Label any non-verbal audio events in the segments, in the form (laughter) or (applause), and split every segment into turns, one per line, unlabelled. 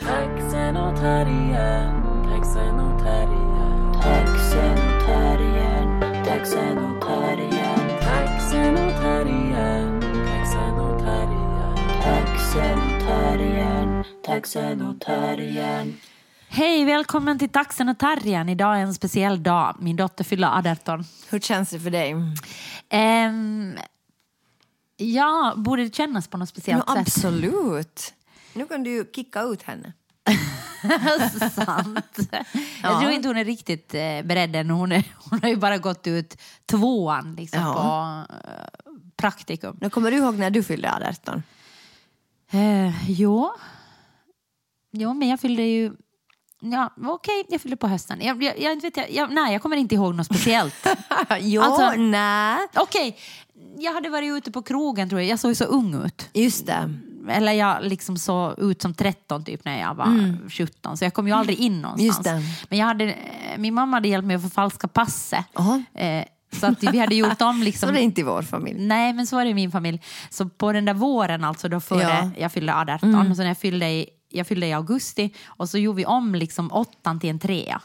Taxen och terriern, taxen och terriern.
Taxen och terriern, taxen och terriern,
Taxen och terriern, taxen och terriern.
taxen och terriern, taxen och terriern.
Hej, välkommen till Taxen och Tarjan. Idag är en speciell dag. Min dotter fyller 18.
Hur känns det för dig?
Ehm, ja, borde det kännas på något
Ja,
speciellt sätt?
absolut. Nu kan du ju kicka ut henne.
(laughs)
(laughs)
Sant. Jag tror inte hon är riktigt eh, beredd än. Hon, är, (laughs) hon har ju bara gått ut tvåan liksom,
Ja.
på eh, praktikum.
Nu kommer du ihåg när du fyllde
(laughs)
18?
Eh, jo. jo, men jag fyllde ju... Ja, okej, jag fyllde på hösten. Jag, jag, jag, vet, jag, jag, nej, jag kommer inte ihåg något
(laughs)
speciellt.
jo,
Alltså-
nej.
Okej, jag hade varit ute på krogen tror jag. Jag såg ju så ung ut.
Just det.
Eller jag liksom såg ut som 13 typ när jag var 17. Så jag kom ju aldrig in någonstans.
Mm. Just det.
Men jag hade, eh, min mamma hade hjälpt mig att förfalska passet.
Jaha.
Eh, så att vi hade gjort
(laughs)
om liksom...
Så är det inte i vår familj.
Nej, men så var det i min familj. Så på den där våren, alltså då före
Ja. Mm.
jag fyllde 18, så när jag fyllde, i, jag fyllde i augusti och så gjorde vi om liksom åttan till en trea.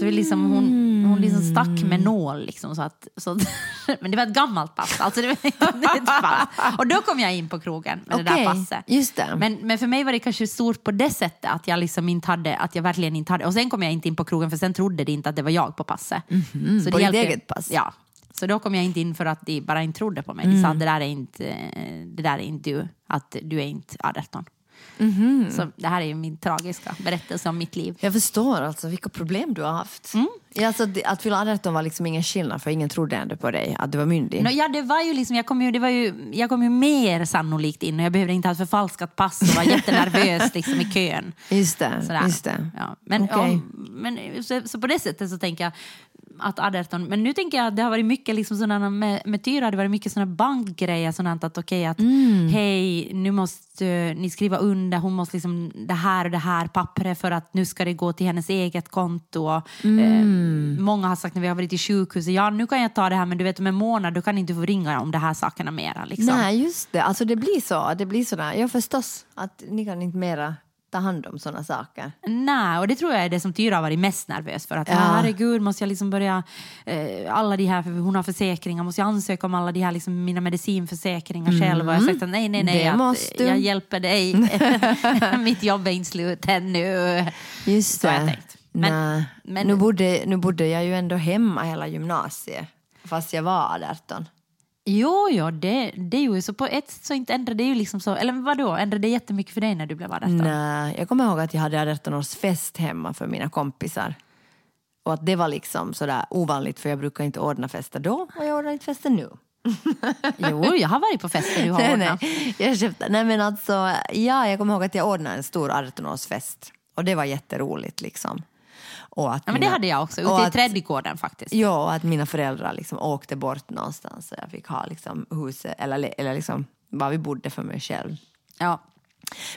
Så vi liksom, hon, hon liksom stack
Mm.
med nål. Liksom, så att, så att, (laughs) men det var ett gammalt pass. Alltså det var (laughs) inte ett nytt pass. Och då kom jag in på krogen med det där
Okej,
passet.
just det.
Men, men för mig var det kanske stort på det sättet att jag, liksom inte hade, att jag verkligen inte hade... Och sen kom jag inte in på krogen för sen trodde det inte att det var jag på passet. så
Mm-hmm. Mm. på ditt
hjälpte-
eget pass? Mm.
Ja. Så då kom jag inte in för att de bara inte trodde på mig. De sa det där är inte, eh, det där är inte du, att du är inte 18.
Mm-hmm.
Så det här är ju min tragiska berättelse om mitt liv.
Jag förstår alltså vilka problem du har haft.
Mm.
Ja, alltså, det- att fylla 18 var liksom ingen skillnad för ingen trodde ändå på dig, att du var myndig.
Nå, ja, det var ju liksom, jag kom ju, det var ju, jag kom ju mer sannolikt in och jag behövde inte ha ett förfalskat pass och var jättenervös liksom, i kön.
Just det,
Sådär.
just det.
Ja, men,
Okej.
ja, men, så, så på det sättet så tänker jag att Aderton, men nu tänker jag att det har varit mycket liksom sådana, med, med Tyra har det varit mycket sådana bankgrejer, sådant att okej att
Mm.
Mm. hej, nu måste eh, ni skriva under, hon måste liksom det här och det här pappret för att nu ska det gå till hennes eget konto. Och,
Mm.
eh, många har sagt när vi har varit i sjukhuset, ja nu kan jag ta det här men du vet om en månad då kan inte du få ringa om de här sakerna mera. Liksom.
Nej, just det. Alltså det blir så. Det blir sådär. Jag förstås att ni kan inte mera ta hand om sådana saker.
Nej, och det tror jag är det som Tyra har varit mest nervös för. Att
Ja.
herregud, måste jag liksom börja, eh, alla de här, för hon har försäkringar, måste jag ansöka om alla de här, liksom, mina medicinförsäkringar själv? Och jag har sagt att nej, nej, nej,
Mm. Det
att,
måste du.
jag hjälper
(laughs)
dig. (laughs) Mitt jobb är inte slut ännu.
Just
Så
det.
har jag tänkt. Men-
Nej.
men-
nu, bodde, nu bodde jag ju ändå hemma hela gymnasiet, fast jag var 18.
Jo, jo, det, det är ju så på ett sätt så inte ändrade det ju liksom så, eller vadå, ändrade det jättemycket för dig när du blev 18?
Nej, jag kommer ihåg att jag hade 18 års fest hemma för mina kompisar. Och att det var liksom sådär ovanligt för jag brukar inte ordna fester då och jag ordnar inte fester nu.
Jo, jag har varit på fester du har
(laughs) Nej,
ordnat.
nej. Jag köpte, nej men alltså, ja, jag kommer ihåg att jag ordnade en stor 18-årsfest och det var jätteroligt liksom. Och att
Ja, men det
mina-
hade jag också,
och
ute i
att-
trädgården faktiskt.
Ja, och att mina föräldrar liksom åkte bort någonstans så jag fick ha liksom huset, eller, eller liksom var vi bodde för mig själv.
Ja.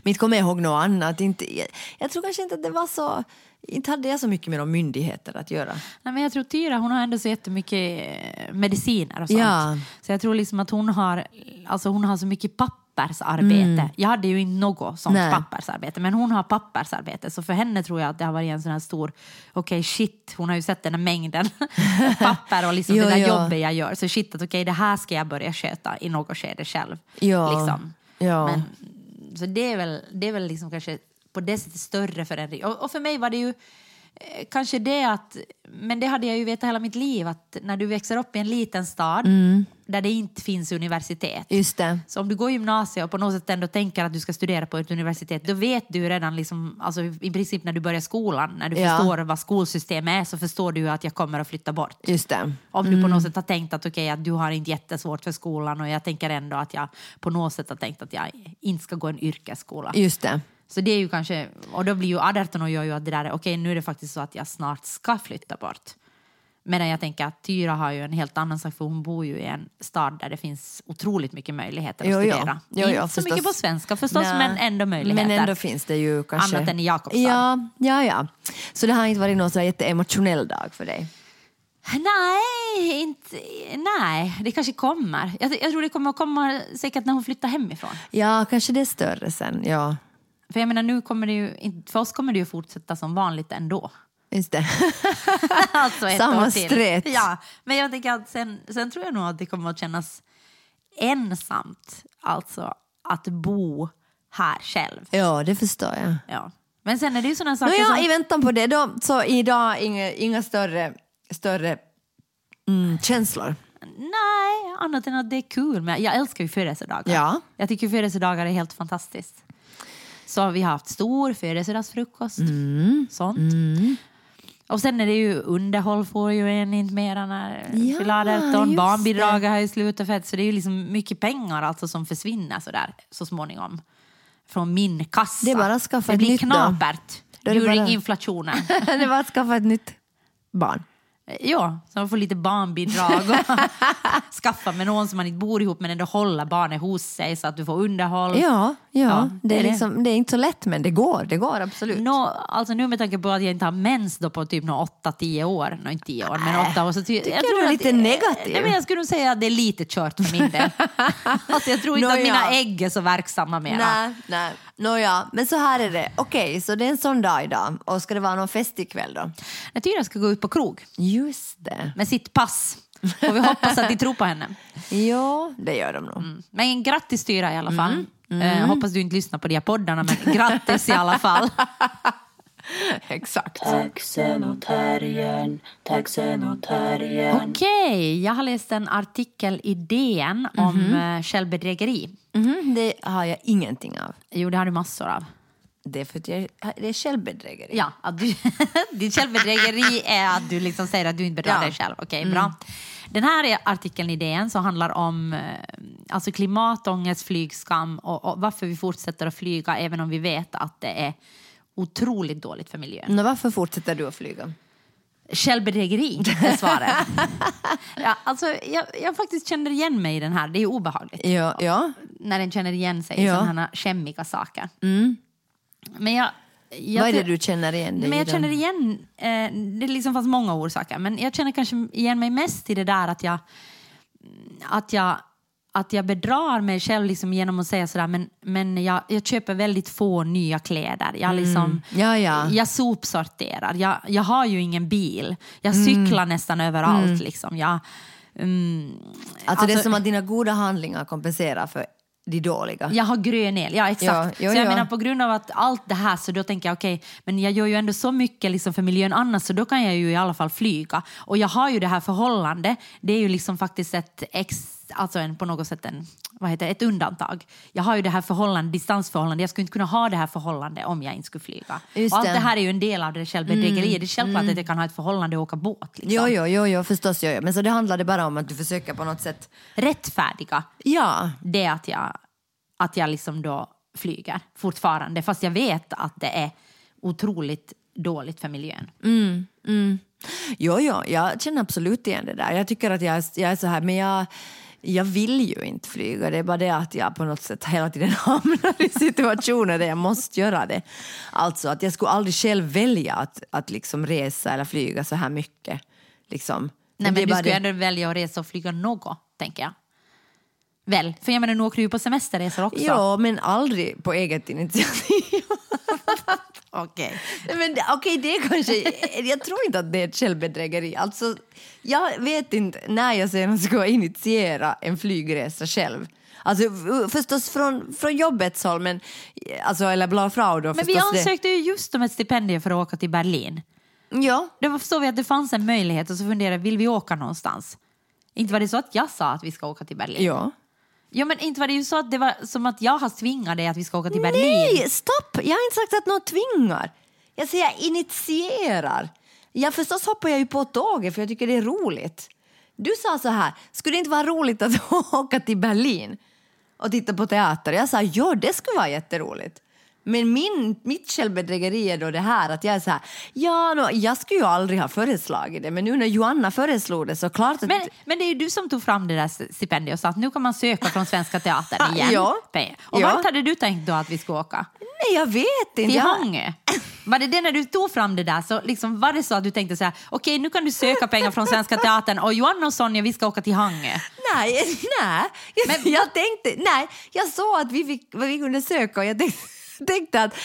Men inte kommer jag ihåg något annat. Inte, jag, jag tror kanske inte att det var så... Inte hade jag så mycket med de myndigheter att göra.
Nej, men jag tror Tyra hon har ändå så jättemycket eh, mediciner och sånt.
Ja.
Så jag tror liksom att hon har, alltså hon har så mycket pappersarbete. Jag hade ju inte något sånt
Mm. Nej.
pappersarbete, men hon har pappersarbete. Så för henne tror jag att det har varit en sån här stor, okej shit, hon har ju sett den här mängden (laughs) papper och liksom
Jo,
det där
jo.
jobbet jag gör. Så shit, att okej det här ska jag börja sköta i något skede själv.
Ja.
Liksom.
Ja.
Men, så det är väl, det är väl liksom kanske på det sättet större för en. Och, och för mig var det ju eh, kanske det att, men det hade jag ju vetat hela mitt liv, att när du växer upp i en liten stad
Mm.
där det inte finns universitet.
Just det.
Så om du går gymnasiet och på något sätt ändå tänker att du ska studera på ett universitet, då vet du redan liksom, alltså i princip när du börjar skolan, när du
Ja.
förstår vad skolsystemet är, så förstår du ju att jag kommer att flytta bort.
Just det. Mm.
Om du på något sätt har tänkt att okej, att du har inte jättesvårt för skolan och jag tänker ändå att jag på något sätt har tänkt att jag inte ska gå en yrkesskola.
Just det.
Så det är ju kanske, och då blir ju Aderton och jag ju att det där är, okej nu är det faktiskt så att jag snart ska flytta bort. Medan jag tänker att Tyra har ju en helt annan sak för hon bor ju i en stad där det finns otroligt mycket möjligheter att
Jo, jo.
studera.
Jo, jo,
inte så
förstås.
mycket på svenska förstås
Nej.
men ändå möjligheter.
Men ändå finns det ju kanske...
Annat än i Jakobstad.
Ja, ja, ja. Så det har inte varit någon så här jätteemotionell dag för dig?
Nej, inte, nej, det kanske kommer. Jag, jag tror det kommer att komma säkert när hon flyttar hemifrån.
Ja, kanske det är större sen. Ja,
För jag menar, nu kommer det ju, inte- för oss kommer det ju fortsätta som vanligt ändå.
just det.
(laughs) alltså ett
Samma
år till.
strätt.
Ja, men jag tänker att sen, sen tror jag nog att det kommer att kännas ensamt, alltså att bo här själv.
(laughs) ja, det förstår jag.
Ja. Men sen är det ju sådana saker
Nåja,
som...
i väntan på det då, så idag inga, inga större, större mm, känslor.
Nej, annat än att det är kul. Men jag älskar ju födelsedagar.
Ja.
Jag tycker födelsedagar är helt fantastiskt. Så vi har haft stor födelsedagsfrukost.
Mm.
Sånt. Och sen är det ju underhåll får ju en inte mera när
Ja,
ja, fyller 18.
just
Barnbidraget har ju slutat fett. Så det är ju liksom mycket pengar alltså som försvinner sådär så småningom. Från min kassa.
Det är bara att skaffa
Det
ett
blir
nytt då.
knapert.
Då är det
During
bara-
inflationen.
(laughs) det var att skaffa ett nytt barn.
Eh, Ja, så man får lite barnbidrag och (laughs) skaffa med någon som man inte bor ihop med ändå hålla barnet hos sig så att du får underhåll.
Ja, ja,
Ja,
det, är
är det-
liksom, det är inte så lätt men det går, det går absolut.
Nå, alltså nu med tanke på att jag inte har mens då på typ 8-10 år, nå inte 10 år, men 8 år. Så ty- jag
du är lite negativ.
Nej, men jag skulle nog säga att det är lite kört för min
(laughs)
del. alltså, jag tror inte att
Nåja.
mina ägg är så verksamma mera.
Nej, nej. Nåja, men så här är det. Okej, så det är en sån dag idag. Och ska det vara någon fest ikväll då?
Jag tycker jag ska gå ut på krog
Just det.
med sitt pass. Och vi hoppas att de tror på henne.
Ja, det gör de nog.
Mm. Men grattis Tyra i alla fall.
Mm.
Eh, hoppas du inte lyssnar på de här poddarna, men grattis i alla fall.
Exakt.
Taxenotarian, taxenotarian,
Okej, jag har läst en artikel i DN om eh, självbedrägeri.
Mhm, det har jag ingenting av.
Jo, det har du massor av.
Det är för att jag, det är självbedrägeri.
Ja, att du, (laughs) ditt självbedrägeri är att du liksom säger att du inte bedrar
Ja.
dig själv. Okej, bra. Den här är artikeln i DN som handlar om eh, alltså klimatångest, flygskam och, och varför vi fortsätter att flyga även om vi vet att det är otroligt dåligt för miljön.
Nå, varför fortsätter du att flyga?
Självbedrägeri är svaret. ja, alltså, jag, jag faktiskt känner igen mig i den här. Det är ju obehagligt.
Ja, ja.
när den känner igen sig i
Ja.
sådana skämmiga saker. Men jag, jag
Mm. Vad är det
tror-
du känner igen dig
men
i
jag
då?
känner igen, eh, det liksom fanns många orsaker, men jag känner kanske igen mig mest i det där att jag, att jag, att jag bedrar mig själv liksom genom att säga sådär, men, men jag, jag köper väldigt få nya kläder. Jag, liksom,
Ja, Mm, ja.
jag sopsorterar, jag, jag har ju ingen bil, jag
Mm.
cyklar nästan överallt. Liksom. Jag, mm,
Alltså, det är som att dina goda handlingar kompenserar för de dåliga.
Jag har grön el, ja exakt.
Ja, jo,
så jag
ja.
menar på grund av att allt det här så då tänker jag okej, men jag gör ju ändå så mycket liksom för miljön annars så då kan jag ju i alla fall flyga. Och jag har ju det här förhållandet, det är ju liksom faktiskt ett ex, alltså en, på något sätt en, vad heter det, ett undantag. Jag har ju det här förhållandet, distansförhållandet, jag skulle inte kunna ha det här förhållandet om jag inte skulle flyga.
Just
och allt
det. Mm,
det här är ju en del av det självbedrägeriet, det är självklart att jag kan ha ett förhållande och åka båt. Liksom.
Jo, jo, jo, jo förstås. Jo, jo. Men så det handlade bara om att du försöker på något sätt...
Rättfärdiga
Ja,
det är att jag, att jag liksom då flyger fortfarande fast jag vet att det är otroligt dåligt för miljön.
Mm, Jo, jo, jag känner absolut igen det där. Jag tycker att jag, jag är så här, men jag, jag vill ju inte flyga. Det är bara det att jag på något sätt hela tiden (laughs) hamnar i situationer där jag måste göra det. Alltså att jag skulle aldrig själv välja att, att liksom resa eller flyga så här mycket. Liksom.
Nej,
det
men
är
du
bara
skulle
det-
ändå välja att resa och flyga något, tänker jag. Väl? För jag menar, nu åker du ju på semesterresor också.
Ja, men aldrig på eget initiativ.
Okej.
Nej, Men det- okej, det är kanske... Jag tror inte att det är ett självbedrägeri. Alltså, jag vet inte när jag sen ska initiera en flygresa själv. Alltså f- förstås från, från jobbets håll, men alltså, eller bla frau då
Men vi
förstås
ansökte ju just om ett stipendium för att åka till Berlin.
det. Ja,
Då såg vi att det fanns en möjlighet och så funderade vi, vill vi åka någonstans? Inte var det så att jag sa att vi ska åka till Berlin?
ja.
Ja, men inte var det ju så att det var som att jag har tvingat dig att vi ska åka till Berlin?
Nej, stopp! Jag har inte sagt att någon tvingar. Jag säger jag initierar. Ja, förstås hoppar jag ju på tåget för jag tycker det är roligt. Du sa så här, skulle det inte vara roligt att (laughs) åka till Berlin och titta på teater? Jag sa, ja det skulle vara jätteroligt. Men min, mitt självbedrägeri är då det här att jag är så här, ja, nå, jag skulle ju aldrig ha föreslagit det men nu när Joanna föreslog det så klart att...
Men, men det är ju du som tog fram det där stipendiet och sa att nu kan man söka från Svenska Teatern igen.
(laughs) Ja.
Pe- Och
Ja.
vart hade du tänkt då att vi skulle åka?
nej, jag vet inte.
Till
Jag-
Hangö? Var det det när du tog fram det där, så liksom, var det så att du tänkte så här, okej nu kan du söka pengar från Svenska Teatern och Johanna och Sonja vi ska åka till Hangö.
Nej, (laughs) nej. Jag,
Men-
jag tänkte, nej, jag såg att vi, fick, vad vi kunde söka och jag tänkte, (laughs) tänkte att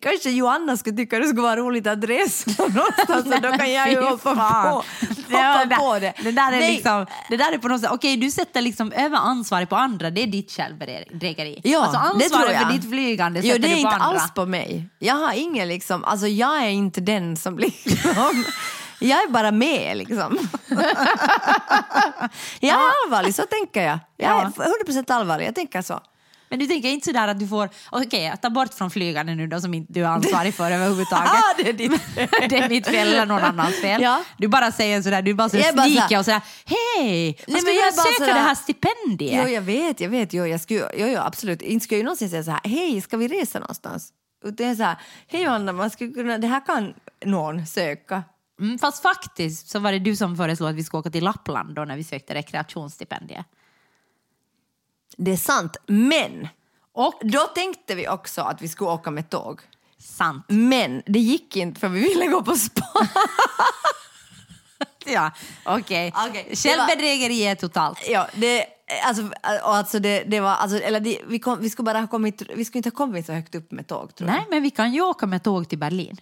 kanske Joanna skulle tycka det skulle vara roligt att resa (laughs) någonstans så Alltså, då kan jag ju
Fy
hoppa
fan.
på,
var
hoppa på det.
Det där är,
Nej,
liksom, det där är på något sätt, okej du sätter liksom över ansvaret på andra, det är ditt självbedrägeri.
Ja,
alltså
det tror
ansvaret
jag.
för ditt flygande
Jo,
sätter
det är
du på
inte
andra.
alls på mig. Jag har ingen liksom, alltså jag är inte den som (laughs) liksom, jag är bara med liksom. (laughs) jag är allvarlig, så tänker jag. Jag
Ja.
är 100% allvarlig, jag tänker så.
Men du tänker inte sådär att du får, okej ta bort från flygande nu då som inte du är ansvarig för
(laughs)
överhuvudtaget.
Ah, det är ditt
(laughs) det är mitt fel eller någon annans fel.
Ja.
Du bara säger sådär, du bara, så
Jag är bara
sneaky
såhär-
och sådär, hej,
men
man skulle
jag
kunna
är bara
söka
sådär-
det här
Jo,
stipendiet.
jag vet, jag vet. Jo, jag skulle, jo, jo, absolut. Inte skulle jag ju någonsin säga så här, hej, ska vi resa någonstans? Utan så här, hej Johanna, man skulle kunna, det här kan någon söka.
Mm, fast faktiskt så var det du som föreslog att vi skulle åka till Lappland då när vi sökte rekreationsstipendiet.
Det är sant, men
Och
då tänkte vi också att vi skulle åka med tåg.
sant.
Men det gick inte för vi ville gå på spa. (laughs)
Ja, okej.
Okej, det var-
Självbedrägeri är totalt.
Ja, det, alltså, och alltså det, det var, alltså, eller det, vi, kom, vi skulle bara ha kommit, vi skulle inte ha kommit så högt upp med tåg tror jag.
Nej, men vi kan ju åka med tåg till Berlin.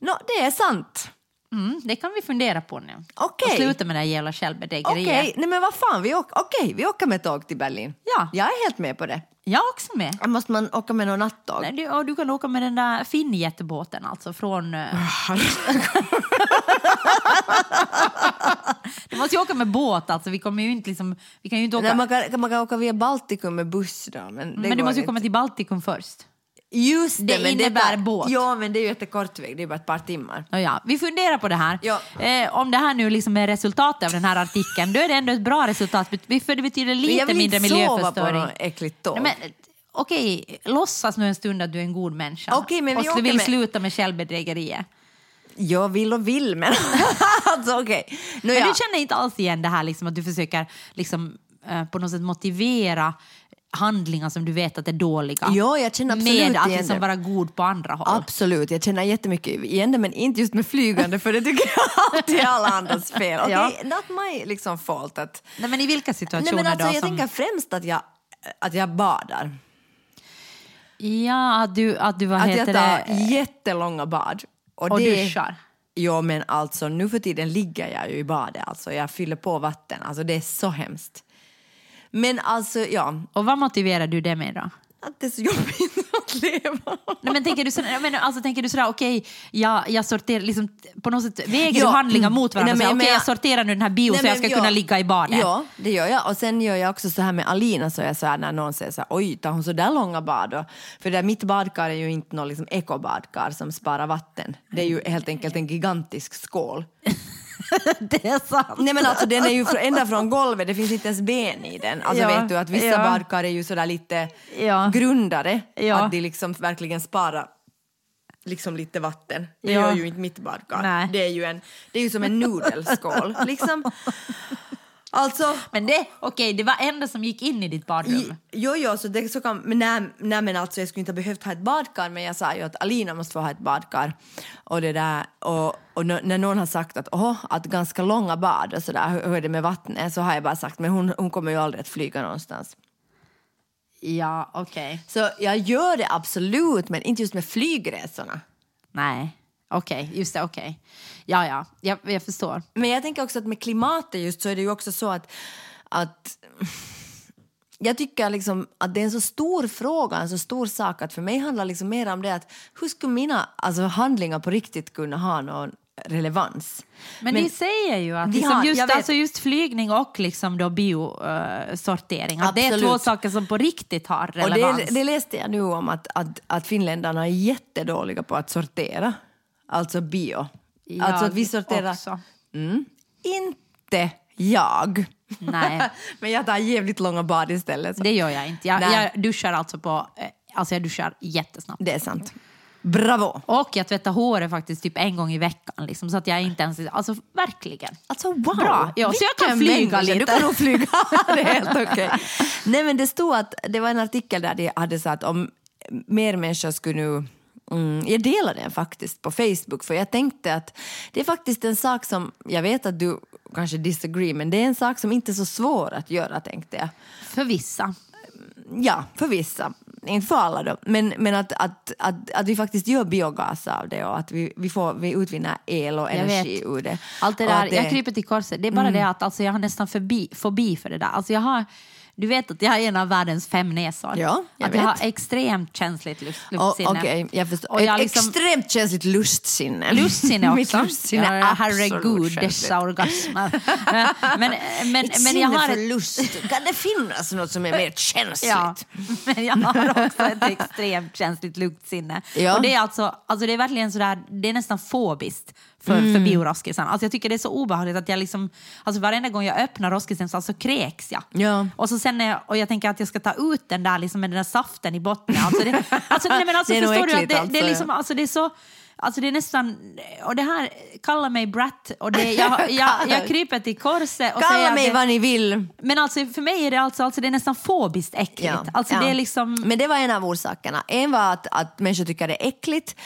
Nå, det är sant.
Mm, det kan vi fundera på nu.
Okej.
Och sluta med det här jävla
Okej,
självbedrägeriet.
nej men vad fan, vi, åk, okej, vi åker med tåg till Berlin.
Ja.
Jag är helt med på det.
Jag är också med.
Måste man åka med någon nattåg?
Nej, Du, och du kan åka med den där finnjetbåten alltså från... eh,
Ah,
du måste ju åka med båt alltså, vi kommer ju inte liksom... Vi kan ju inte åka...
Nej, man, kan, man kan åka via Baltikum med buss då. Men, det
men du
går
måste ju
inte.
komma till Baltikum först.
Just det,
Det
men det är
innebär
bara,
båt.
Ja, men det är ju jättekort väg, det är bara ett par timmar.
Nåja, vi funderar på det här.
Ja.
Eh, om det här nu liksom är resultatet av den här artikeln, då är det ändå ett bra resultat. bet- För det betyder
Men
lite mindre
sova på
miljöförstöring.
något äckligt tåg.
Nej, men, eh, okej, låtsas nu en stund att du är en god människa
Okej, men vi
och sl-
åker
vill
med-
sluta med självbedrägerier.
Jag vill och vill, men (laughs) alltså okej.
Men
Nåja.
du känner inte alls igen det här liksom, att du försöker liksom, eh, på något sätt motivera handlingar som du vet att är dåliga
Ja, jag känner absolut
med att
igen
liksom
det.
vara god på andra håll.
Absolut, jag känner jättemycket igen det men inte just med flygande för det tycker jag (laughs) alltid är alla andras fel. Okej,
Ja.
not my liksom, fault. Att,
Nej, men I vilka situationer
nej, men alltså,
då?
jag
som-
tänker främst att jag, att jag badar.
Ja, att du, att du vad
Att
heter
jag tar
det,
jättelånga bad.
och
det-
duschar.
Ja men alltså nu för tiden ligger jag ju i badet alltså. Jag fyller på vatten. Alltså det är så hemskt. Men alltså ja,
Och vad motiverar du det med då?
att det är så (laughs) jobbigt att leva.
Nej, men tänker du, sådär, jag menar, alltså, tänker du sådär, okej, jag, jag sorterar, liksom, på något sätt väger
Ja,
du handlingar
mm.
mot varandra?
Nej, men
Såhär,
jag
Okej,
menar-
jag sorterar nu den här bio så jag
men
ska kunna ligga i badet.
Ja, det gör jag. Och sen gör jag också så här med Alina, så jag så här, när någon säger så här, oj, tar hon så där långa bad? då?" För det, mitt badkar är ju inte någon liksom ekobadkar som sparar vatten. Det är ju helt enkelt en gigantisk skål.
(laughs) Det är sant.
Nej men alltså den är ju från, ända från golvet, det finns inte ens ben i den. Alltså
Ja,
vet du att vissa
ja.
badkar är ju sådär lite
Ja.
grundare,
Ja.
att de liksom verkligen sparar liksom lite vatten. Det
Ja.
gör ju inte mitt badkar.
Nej.
Det är ju en, det är ju som
(laughs)
en nudelskål liksom. Alltså,
Men det, okej, det var enda som gick in i ditt badrum.
i- jo, jo, så det så kan, men nej, nej men alltså jag skulle inte ha behövt ha ett badkar men jag sa ju att Alina måste få ha ett badkar. Och det där, och, och nå- när någon har sagt att åh, att ganska långa bad och sådär, hur, hur är det med vattnet? Så har jag bara sagt men hon, hon kommer ju aldrig att flyga någonstans.
Ja, okej.
Så jag gör det absolut men inte just med flygresorna.
Nej, okej, just det, okej. Ja, ja, jag, jag förstår.
Men jag tänker också att med klimatet just så är det ju också så att, att (laughs) jag tycker liksom att det är en så stor fråga, en så stor sak att för mig handlar liksom mer om det att hur skulle mina alltså, handlingar på riktigt kunna ha någon relevans?
Men, vi säger ju att
Vi
liksom
har-
just,
jag vet.
alltså just flygning och liksom då biosortering, att det är
Absolut.
två saker som på riktigt har
Och
relevans.
det, det läste jag nu om att, att, att finländarna är jättedåliga på att sortera, alltså bio.
Ja,
alltså att vi sorterar Mm.
också.
inte jag.
Nej.
(laughs) Men jag tar jävligt långa bad istället.
Det gör jag inte. Jag,
Nej.
jag duschar alltså på, eh, alltså jag duschar jättesnabbt.
det är sant. Bravo!
Och jag tvättar håret faktiskt typ en gång i veckan, liksom, så att jag inte ens... Alltså verkligen.
Alltså wow!
Bra. Ja, så jag kan
Vilken
flyga
människa.
lite.
Du kan nog flyga, (laughs) det är helt okej. Nej men det stod att, det var en artikel där det hade sagt om mer människor skulle nu Mm, jag delade den faktiskt på Facebook för jag tänkte att det är faktiskt en sak som, jag vet att du kanske disagree, men det är en sak som inte är så svår att göra tänkte jag.
För vissa.
Ja, för vissa. Inte för alla då, men, men att, att, att, att vi faktiskt gör biogas av det och att vi, vi, får, vi utvinner el och
Jag vet.
energi ur det.
Allt det
Och
där,
att det- Mm.
Jag kryper till korset. Det är bara det att alltså, jag har nästan förbi, fobi för det där. Alltså, jag har, du vet att jag har en av världens fem näsor.
Ja, jag
att jag har
vet.
extremt känsligt luft,
Ja,
luftsinne.
Okej, jag förstår.
Och jag
Ett
liksom-
extremt känsligt
(laughs)
lustsinne.
Lustsinne också.
(laughs) Mitt lustsinne är
ja,
absolut
herregud,
känsligt.
dessa orgasmer. (laughs) men, men, men, men
Ett sinne
jag har
för
ett
lust. Kan det finnas något som är mer känsligt?
(laughs) Ja, (laughs) men jag har också ett extremt känsligt luktsinne.
Ja.
Och det är alltså, alltså det är verkligen sådär, det är nästan fobiskt för, för
Mm.
bioraskisen. Alltså jag tycker det är så obehagligt att jag liksom, alltså varenda gång jag öppnar roskisen så alltså kräks jag.
Ja.
Och, så sen, när jag- och jag tänker att jag ska ta ut den där liksom med den där saften i botten. Alltså det, alltså, nej, men alltså,
(laughs) Det är nog
förstår du att
äckligt
det, det
alltså,
är
ja.
liksom, alltså det är så Alltså det är nästan, och det här, kalla mig brat och det,
(laughs)
jag, jag, jag kryper till korset. Och säger
Kalla
att
mig
det,
vad ni vill.
men alltså, för mig är det, alltså, alltså, det är nästan fobiskt äckligt.
Ja,
Alltså,
ja.
det är liksom,
Men det var en av orsakerna. En var att, att människor tycker det är äckligt,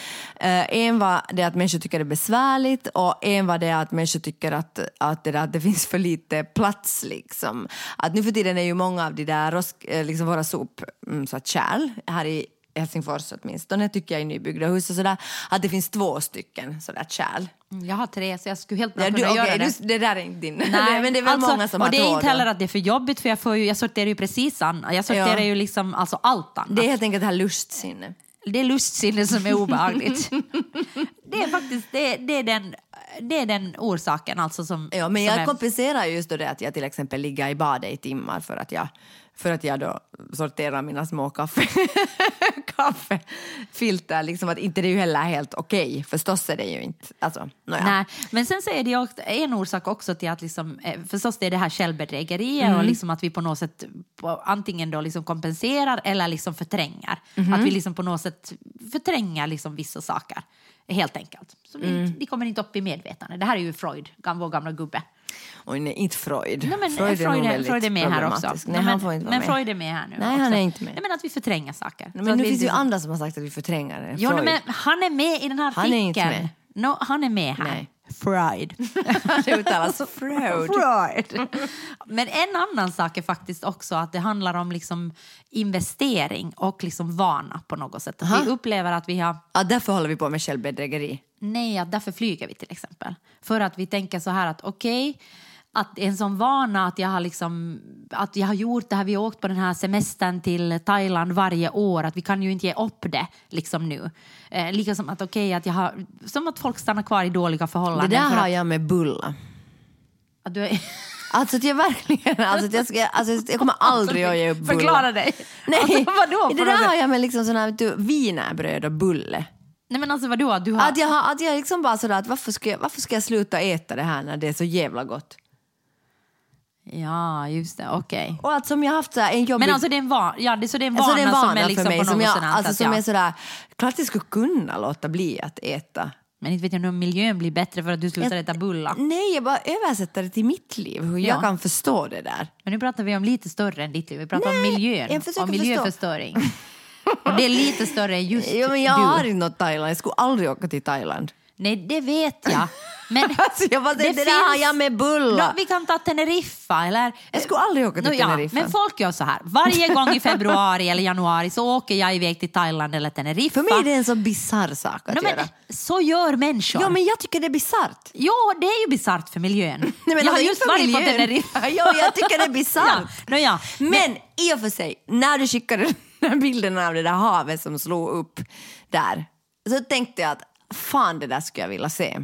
eh, en var det att människor tycker det är besvärligt och en var det att människor tycker att, att, det, där- att det finns för lite plats. Liksom. Att nu för tiden är ju många av de där rosk, eh, liksom våra sopkärl här i Helsingfors åtminstone, tycker jag i nybyggda hus och sådär, att det finns två stycken sådär kärl.
Mm, jag har tre så jag skulle helt bra
Ja, du,
kunna
okej,
göra det.
du, (laughs) det där är inte din. Det, men det är väl
alltså,
många som
och
har
det är
två
inte
då.
heller att det är för jobbigt för jag, får ju, jag sorterar ju precis annat. Jag sorterar
Ja.
ju liksom alltså allt annat.
Det är
Det,
helt enkelt det här lustsinnet.
är lustsinne som är
(laughs)
obehagligt. det är faktiskt det, det är den, det är den orsaken alltså som...
Ja, men
som
jag
är-
kompenserar just då det att jag till exempel ligger i badet i timmar för att jag, för att jag då sorterar mina små kaffe, (laughs) kaffefilter. Liksom att inte det är ju heller helt okej, förstås är det ju inte. Alltså, nåja.
Nej, men sen så är det ju också, en orsak också till att liksom, eh, förstås det är det här självbedrägeriet
Mm.
och liksom att vi på något sätt på, antingen då liksom kompenserar eller liksom förtränger.
Mm-hmm.
Att vi liksom på något sätt förtränger liksom vissa saker, helt enkelt. Så vi,
Mm.
vi kommer inte upp i medvetande. Det här är ju Freud, gam- vår gamla gubbe.
Oj, nej, inte Freud.
Nej, men Freud,
Freud är nog
Freud, är,
väldigt
Freud är med här också.
problematisk. Nej,
Nej, men,
han får inte vara
men
med.
Freud är med här nu
Nej,
också.
han är inte med.
Nej, men att vi förtränger saker. Så
men
att
nu
vi
finns det ju
liksom-
andra som har sagt att vi förtränger det.
Jo, nej,
Freud.
men han är med i den här
Han är inte
artikeln. No, han är med här.
Nej.
Freud.
(laughs) det
(laughs)
uttalas Freud.
Freud. (laughs) Men en annan sak är faktiskt också att det handlar om liksom investering och liksom vana på något sätt. Att Vi upplever att vi har,
Ja, därför håller vi på med självbedrägeri.
nej, att därför flyger vi till exempel. För att vi tänker så här att okej, att det är en sån vana att jag har liksom, att jag har gjort det här, vi har åkt på den här semestern till Thailand varje år, att vi kan ju inte ge upp det liksom nu. Eh, liksom att okej, att jag har, som att folk stannar kvar i dåliga
Det
förhållanden.
där
för
har
att,
jag med bulla.
att du är, (laughs)
Alltså att jag verkligen, alltså att jag, ska, alltså jag kommer aldrig att ge upp bulla.
Förklara dig.
(laughs) Nej,
Alltså, vadå? på
det
något
där
sätt?
har jag med liksom såna här, du, wienerbröd och bulle.
Nej men alltså vadå? Du har...
Att jag, har, att jag liksom bara sådär, att varför ska, jag, varför ska jag sluta äta det här när det är så jävla gott?
Ja, just det. Okej.
Och att som jag haft såhär, en jobbig...
Men alltså det är en vana, ja, det, så det är en vana,
alltså, det är en vana
som är liksom
för mig
på
som,
något
jag,
sådant.
alltså,
att
som
ja.
är sådär, klart jag skulle kunna låta bli att äta.
Men inte vet jag om miljön blir bättre för att du slutar
Jag-
äta bullar.
Nej, jag bara översätter det till mitt liv, hur
Ja.
jag kan förstå det där.
Men nu pratar vi om lite större än ditt liv. Vi pratar om miljön
jag försöker
och miljöförstöring. och det är lite större än just
Jo, men jag
du.
har inte något Thailand, jag skulle aldrig åka till Thailand.
Nej, det vet jag. Men
(laughs) Alltså jag bara, det, det, där har jag med
Ja,
bulla.
vi kan ta Teneriffa eller...
Jag skulle aldrig åka till
Nå, ja,
Teneriffa.
Men folk gör så här. Varje gång i februari eller januari så åker jag iväg till Thailand eller Teneriffa.
För mig är det en så bisarr sak att
Nå,
göra.
men, Så gör människor.
Ja, men jag tycker det är bisarrt.
Jo, det är ju bisarrt för miljön.
(laughs) Nej, men
jag har
alltså,
just
inte för
varit på
miljön.
Teneriffa.
(laughs) Ja, jag tycker det är bisarrt.
(laughs)
Mm.
Ja, nå ja.
Men, i och för sig, när du skickade (laughs) den här bilden av det där havet som slog upp där så tänkte jag att fan, det där skulle jag vilja se.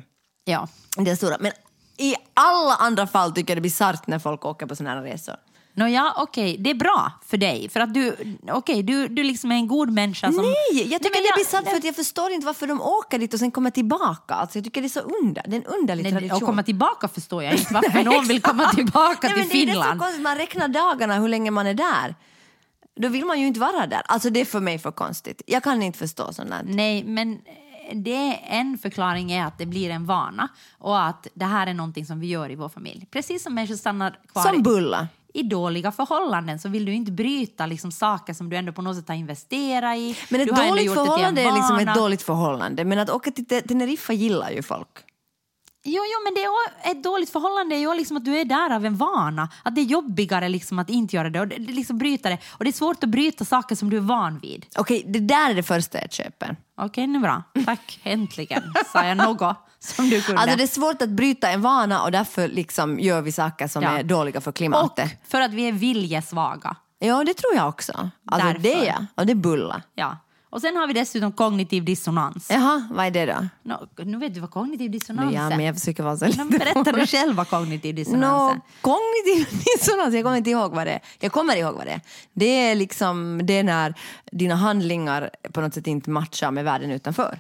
ja.
Det stora. Men i alla andra fall tycker jag det är bisarrt när folk åker på sådana här resor.
Nå ja, okej, det är bra för dig. För att du, okej, du, du liksom är en god människa som...
Alltså, Nej, jag tycker
men
det är
jag-
bisarrt för att jag förstår inte varför de åker dit och sen kommer tillbaka. Alltså, jag tycker det är så under, det är en underlig
Nej,
tradition.
att komma tillbaka förstår jag inte varför någon vill
(laughs)
komma tillbaka
Nej,
till
men det är det som
Finland.
är konstigt, man räknar dagarna hur länge man är där. Då vill man ju inte vara där. Alltså det är för mig för konstigt. Jag kan inte förstå sånt där.
Nej, men eh, det, en förklaring är att det blir en vana och att det här är någonting som vi gör i vår familj. Precis som människor stannar kvar
Som
i,
bulla.
i dåliga förhållanden så vill du inte bryta liksom, saker som du ändå på något sätt har investerat i.
Men ett
du har ändå
dåligt
gjort det till en
förhållande är liksom
vana.
ett dåligt förhållande. Men att åka till Te- Teneriffa gillar ju folk.
Jo, jo, men det är ju- ett dåligt förhållande är ju liksom att du är där av en vana. Att det är jobbigare liksom att inte göra det och det, det liksom bryta det. Och det är svårt att bryta saker som du är van vid.
Okej, det där är det första jag köper.
Okej, nu bra. Tack. Äntligen sa jag något som du kunde.
Alltså det är svårt att bryta en vana och därför liksom gör vi saker som
Ja.
är dåliga för
och
klimatet.
för att vi är viljesvaga.
Ja, det tror jag också. Alltså
Därför.
det ja. Och det är bulla.
Ja. Och sen har vi dessutom kognitiv dissonans.
Jaha, vad är det då?
Nå, nu vet du vad kognitiv
Ja,
dissonans
men
är.
jag försöker vara så
Nå, men
lite...
Berätta du själv vad kognitiv dissonans
No,
är.
kognitiv (laughs) dissonans, jag kommer inte ihåg vad det är. Jag kommer ihåg vad det är. Det är liksom det är när dina handlingar på något sätt inte matchar med världen utanför.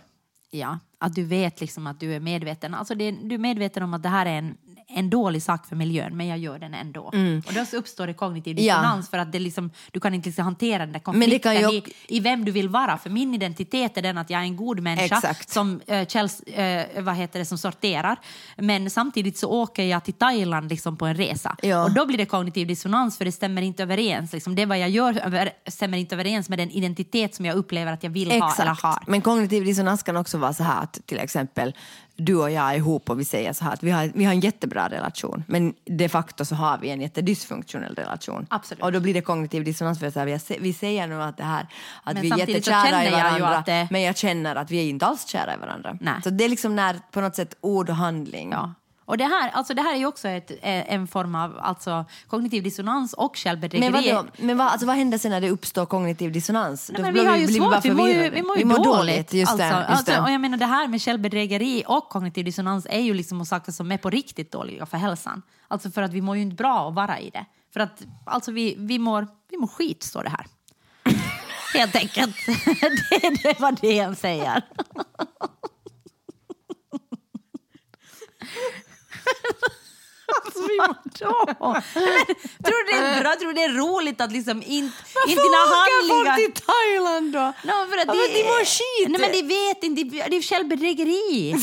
Ja, att du vet liksom att du är medveten. Alltså det, du är medveten om att det här är en, en dålig sak för miljön, men jag gör den ändå.
Mm.
Och då så uppstår det kognitiv dissonans för att det liksom, du kan inte liksom hantera den där
Men det
konflikten
kan ju
i, i vem du vill vara. För min identitet är den att jag är en god människa
Exakt.
som, eh, källs, eh, vad heter det, som sorterar. Men samtidigt så åker jag till Thailand liksom på en resa.
Ja.
Och då blir det kognitiv dissonans för det stämmer inte överens. Liksom det vad jag gör över, stämmer inte överens med den identitet som jag upplever att jag vill ha eller har.
Men kognitiv dissonans kan också vara så här att till exempel du och jag är ihop och vi säger så här att vi har, vi har en jättebra relation men de facto så har vi en jättedysfunktionell relation.
Absolut.
Och då blir det kognitiv dissonans för så här, vi, har- vi säger nu att det här att
Men
vi är
samtidigt så känner
jättekära i
jag ju
varandra
att det-
men jag känner att vi är inte alls kära i varandra.
Nej.
Så det är liksom när på något sätt ord och handling
Ja. Och det här, alltså det här är ju också ett, eh, en form av alltså, kognitiv dissonans och självbedrägeri.
Men, vadå, men vad, alltså vad händer sen när det uppstår kognitiv dissonans?
Nej,
Då
men
blir
vi har ju
blir bara
svårt, vi mår ju,
förvirrade.
vi mår ju
Vi mår
dåligt.
Just
alltså,
det, just
alltså,
det.
Och jag menar det här med självbedrägeri och kognitiv dissonans är ju liksom saker som är på riktigt dåliga för hälsan. Alltså för att vi mår ju inte bra att vara i det. För att alltså vi, vi, mår, vi mår skit, står det
(laughs)
här. Helt enkelt. (laughs) det, är- det var det han säger. Alltså, vi mår då. Men, tror du det är bra? Tror du det är roligt att liksom inte, inte dina handlingar...
folk till Thailand då?
No, för att
Ja,
det,
men de mår skit.
Nej, men de vet inte. Det det är självbedrägeri.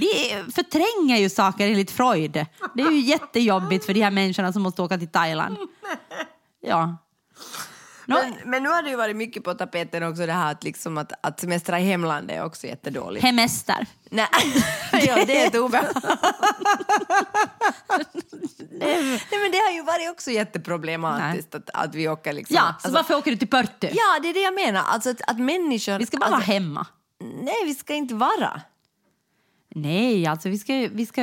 Det förtränger ju saker enligt Freud. Det är ju jättejobbigt för de här människorna som måste åka till Thailand. Ja. No,
Men, men nu har det ju varit mycket på tapeten också det här att, liksom att, att semestra i hemlandet är också jättedåligt.
hemester.
Nej, (laughs) ja, det är ett obehag. (laughs) Nej men det har ju varit också jätteproblematiskt att, att vi åker liksom...
Ja, så
alltså,
varför åker du till Pörtö?
ja, det är det jag menar. Alltså att, att människor...
Vi ska bara
alltså,
vara hemma.
Nej, vi ska inte vara.
Nej, alltså vi ska, vi ska,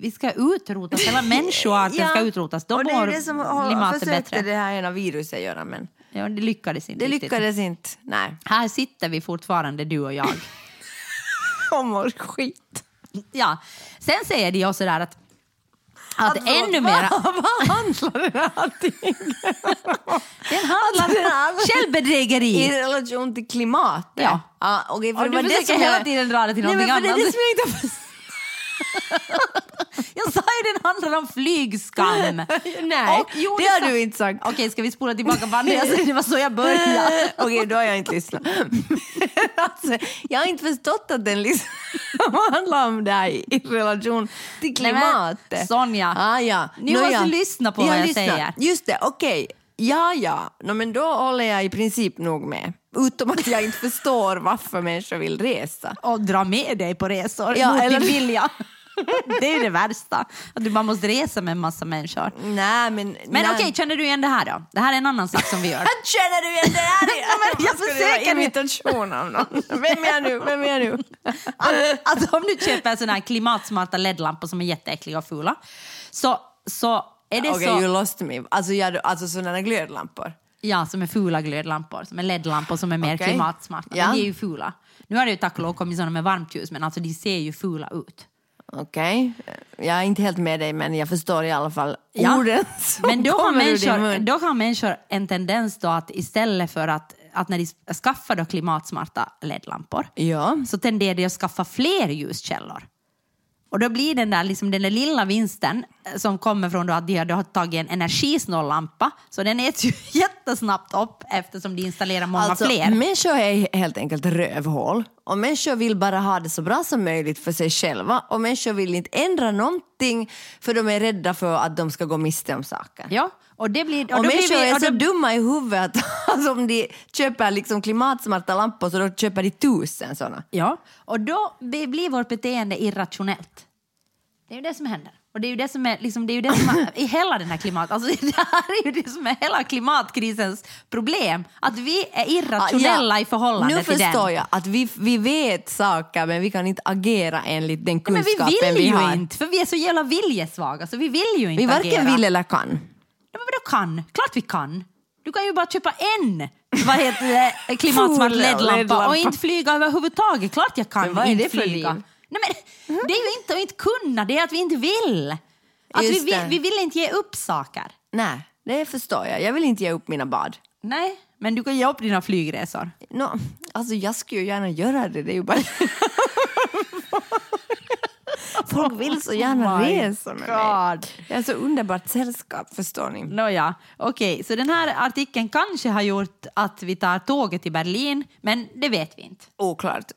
vi ska utrotas. Hela människoarten
Ja,
ska utrotas. Då
och det är
mår
ju det som har,
klimatet
försökte
bättre.
det här ena viruset göra men
Ja, det lyckades inte
det
riktigt.
lyckades inte. Nej.
Här sitter vi fortfarande, du och jag.
De mår skit.
Ja. Sen säger de ju sådär att, att,
Alltså,
ännu (laughs)
vad-
mer...
Vad handlar det här till?
Den handlar
(laughs) den
om
här- I
självbedrägeri.
relation till klimatet?
Ja.
ja okej, för
Och
det var
du
det
försöker
som
hela
jag-
tiden dra det till
Nej, men
någonting
för Det är det
annat.
som jag inte har förstått.
Jag sa ju den handlar om (laughs) flygskam.
Nej,
Och- jo,
det
det sa-
har du inte sagt.
Okej, ska vi spola tillbaka bandet? Jag (laughs) sa- Det var så jag (laughs) började.
Okej, då har jag inte lyssnat. (laughs) alltså, jag har inte förstått att den liksom (laughs) handlar om det här i i relation till
Nej, men,
klimatet.
Sonja,
ah, ja.
ni
Nå,
måste
ja.
lyssna på vad jag
lyssnar.
säger.
Just det, okej. Ja, ja. No, men då håller jag i princip nog med. Utom att jag inte förstår varför människor vill resa.
och dra med dig på resor
Ja,
mot
eller-
din vilja. (laughs) Det är ju det värsta, att du bara måste resa med en massa människor.
Nej, men...
Men okej, känner du igen det här då? Det här är en annan sak som vi gör.
Känner du igen
(laughs)
det här?
men jag
Skulle det
försöker
vara
ju.
imitation av någon. Vem är jag nu? Vem är jag nu?
Att, att alltså, om du köper såna här klimatsmarta LED-lampor som är jätteäckliga och fula, så, så är det
Okej,
så...
you lost me. Alltså, jag, alltså sådana glödlampor.
Ja, som är fula glödlampor, som är LED-lampor som är mer
Okej.
klimatsmarta.
Ja.
Men de är ju fula. Nu har det ju tack och lov kommit sådana med varmt ljus, men alltså de ser ju fula ut.
Okej, jag är inte helt med dig men jag förstår i alla fall
Ja.
orden (laughs) som
(laughs) Men då har,
kommer ur din mun.
människor, då har människor en tendens då att istället för att, att när de skaffar då klimatsmarta LED-lampor,
Ja,
så tenderar de att skaffa fler ljuskällor. Och då blir den där, liksom, den där lilla vinsten som kommer från då att de har, de har tagit en energisnål lampa, så den äts ju (laughs) jättesnabbt upp eftersom de installerar många
Alltså,
fler.
människor är helt enkelt rövhål. Och människor vill bara ha det så bra som möjligt för sig själva. Och människor vill inte ändra någonting för de är rädda för att de ska gå miste om saker.
Ja, och det blir...
Och
då blir
människor
vi-
är
och
så
då-
dumma i huvudet (laughs) att om de köper liksom klimatsmarta lampor så då köper de tusen sådana.
Ja, och då blir blir vårt beteende irrationellt. Det är ju det som händer. Och det är ju det som är, liksom, det är, ju det som
(laughs)
är i hela den här klimat... Alltså, (laughs) det här är ju det som är hela klimatkrisens problem. Att vi är irrationella
Ja,
i förhållande
Nu
till den.
förstår jag att vi, vi vet saker men vi kan inte agera enligt den
Nej, men
kunskapen
vi vill ju
har.
inte, för vi är så jävla viljesvaga. Så vi vill ju inte
Vi
agera.
varken vill eller kan.
Ja, men vadå kan? Klart vi kan. Du kan ju bara köpa en vad heter (laughs) det, klimatsmart
Full
LED-lampa och
LED-lampa.
inte flyga överhuvudtaget. Klart jag kan
Men vad är
inte
det för
flyga.
liv?
Nej, men, det är ju inte att inte kunna, det är att vi inte vill. Att vi,
Just
vi,
det.
vi vill inte ge upp saker.
Nej, det förstår jag. Jag vill inte ge upp mina bad.
Nej, men du kan ge upp dina flygresor.
No, alltså jag skulle ju gärna göra det, det är ju bara... (laughs) Folk vill så gärna
Oh my
resa med mig.
God.
Jag är så underbart sällskap, förstår ni.
Nåja, okej, så den här artikeln kanske har gjort att vi tar tåget till Berlin, men det vet vi inte.
Oklart.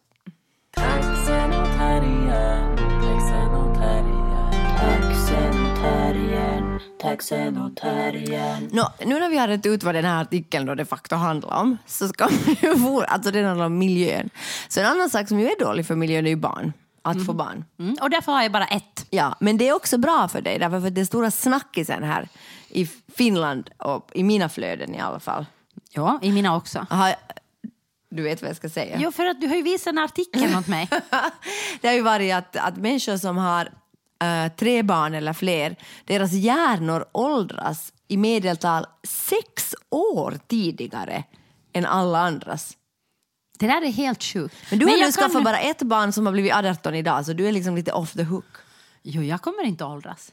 Taxenotarian, taxenotarian,
Taxenotarian, taxenotarian,
Nå, nu när vi har rätt ut vad den här artikeln då de facto handlar om så ska (laughs) vi ju få, alltså den handlar om miljön. Så en annan sak som ju är dålig för miljön är ju barn, att få barn.
Mm, och därför har jag bara ett.
Ja, men det är också bra för dig därför att det är stora snackisen här i Finland och i mina flöden i alla fall.
Ja, i mina också.
Har, du vet vad jag ska säga?
Jo, för att du har ju visat en artikel åt mig.
(laughs) det har ju varit att, att människor som har eh, tre barn eller fler, deras hjärnor åldras i medeltal sex år tidigare än alla andras.
(laughs) Det där är helt sjukt.
Men du har
jag
nu skaffat bara ett barn som har blivit 18 idag så du är liksom lite off the hook.
Jo, jag kommer inte att åldras.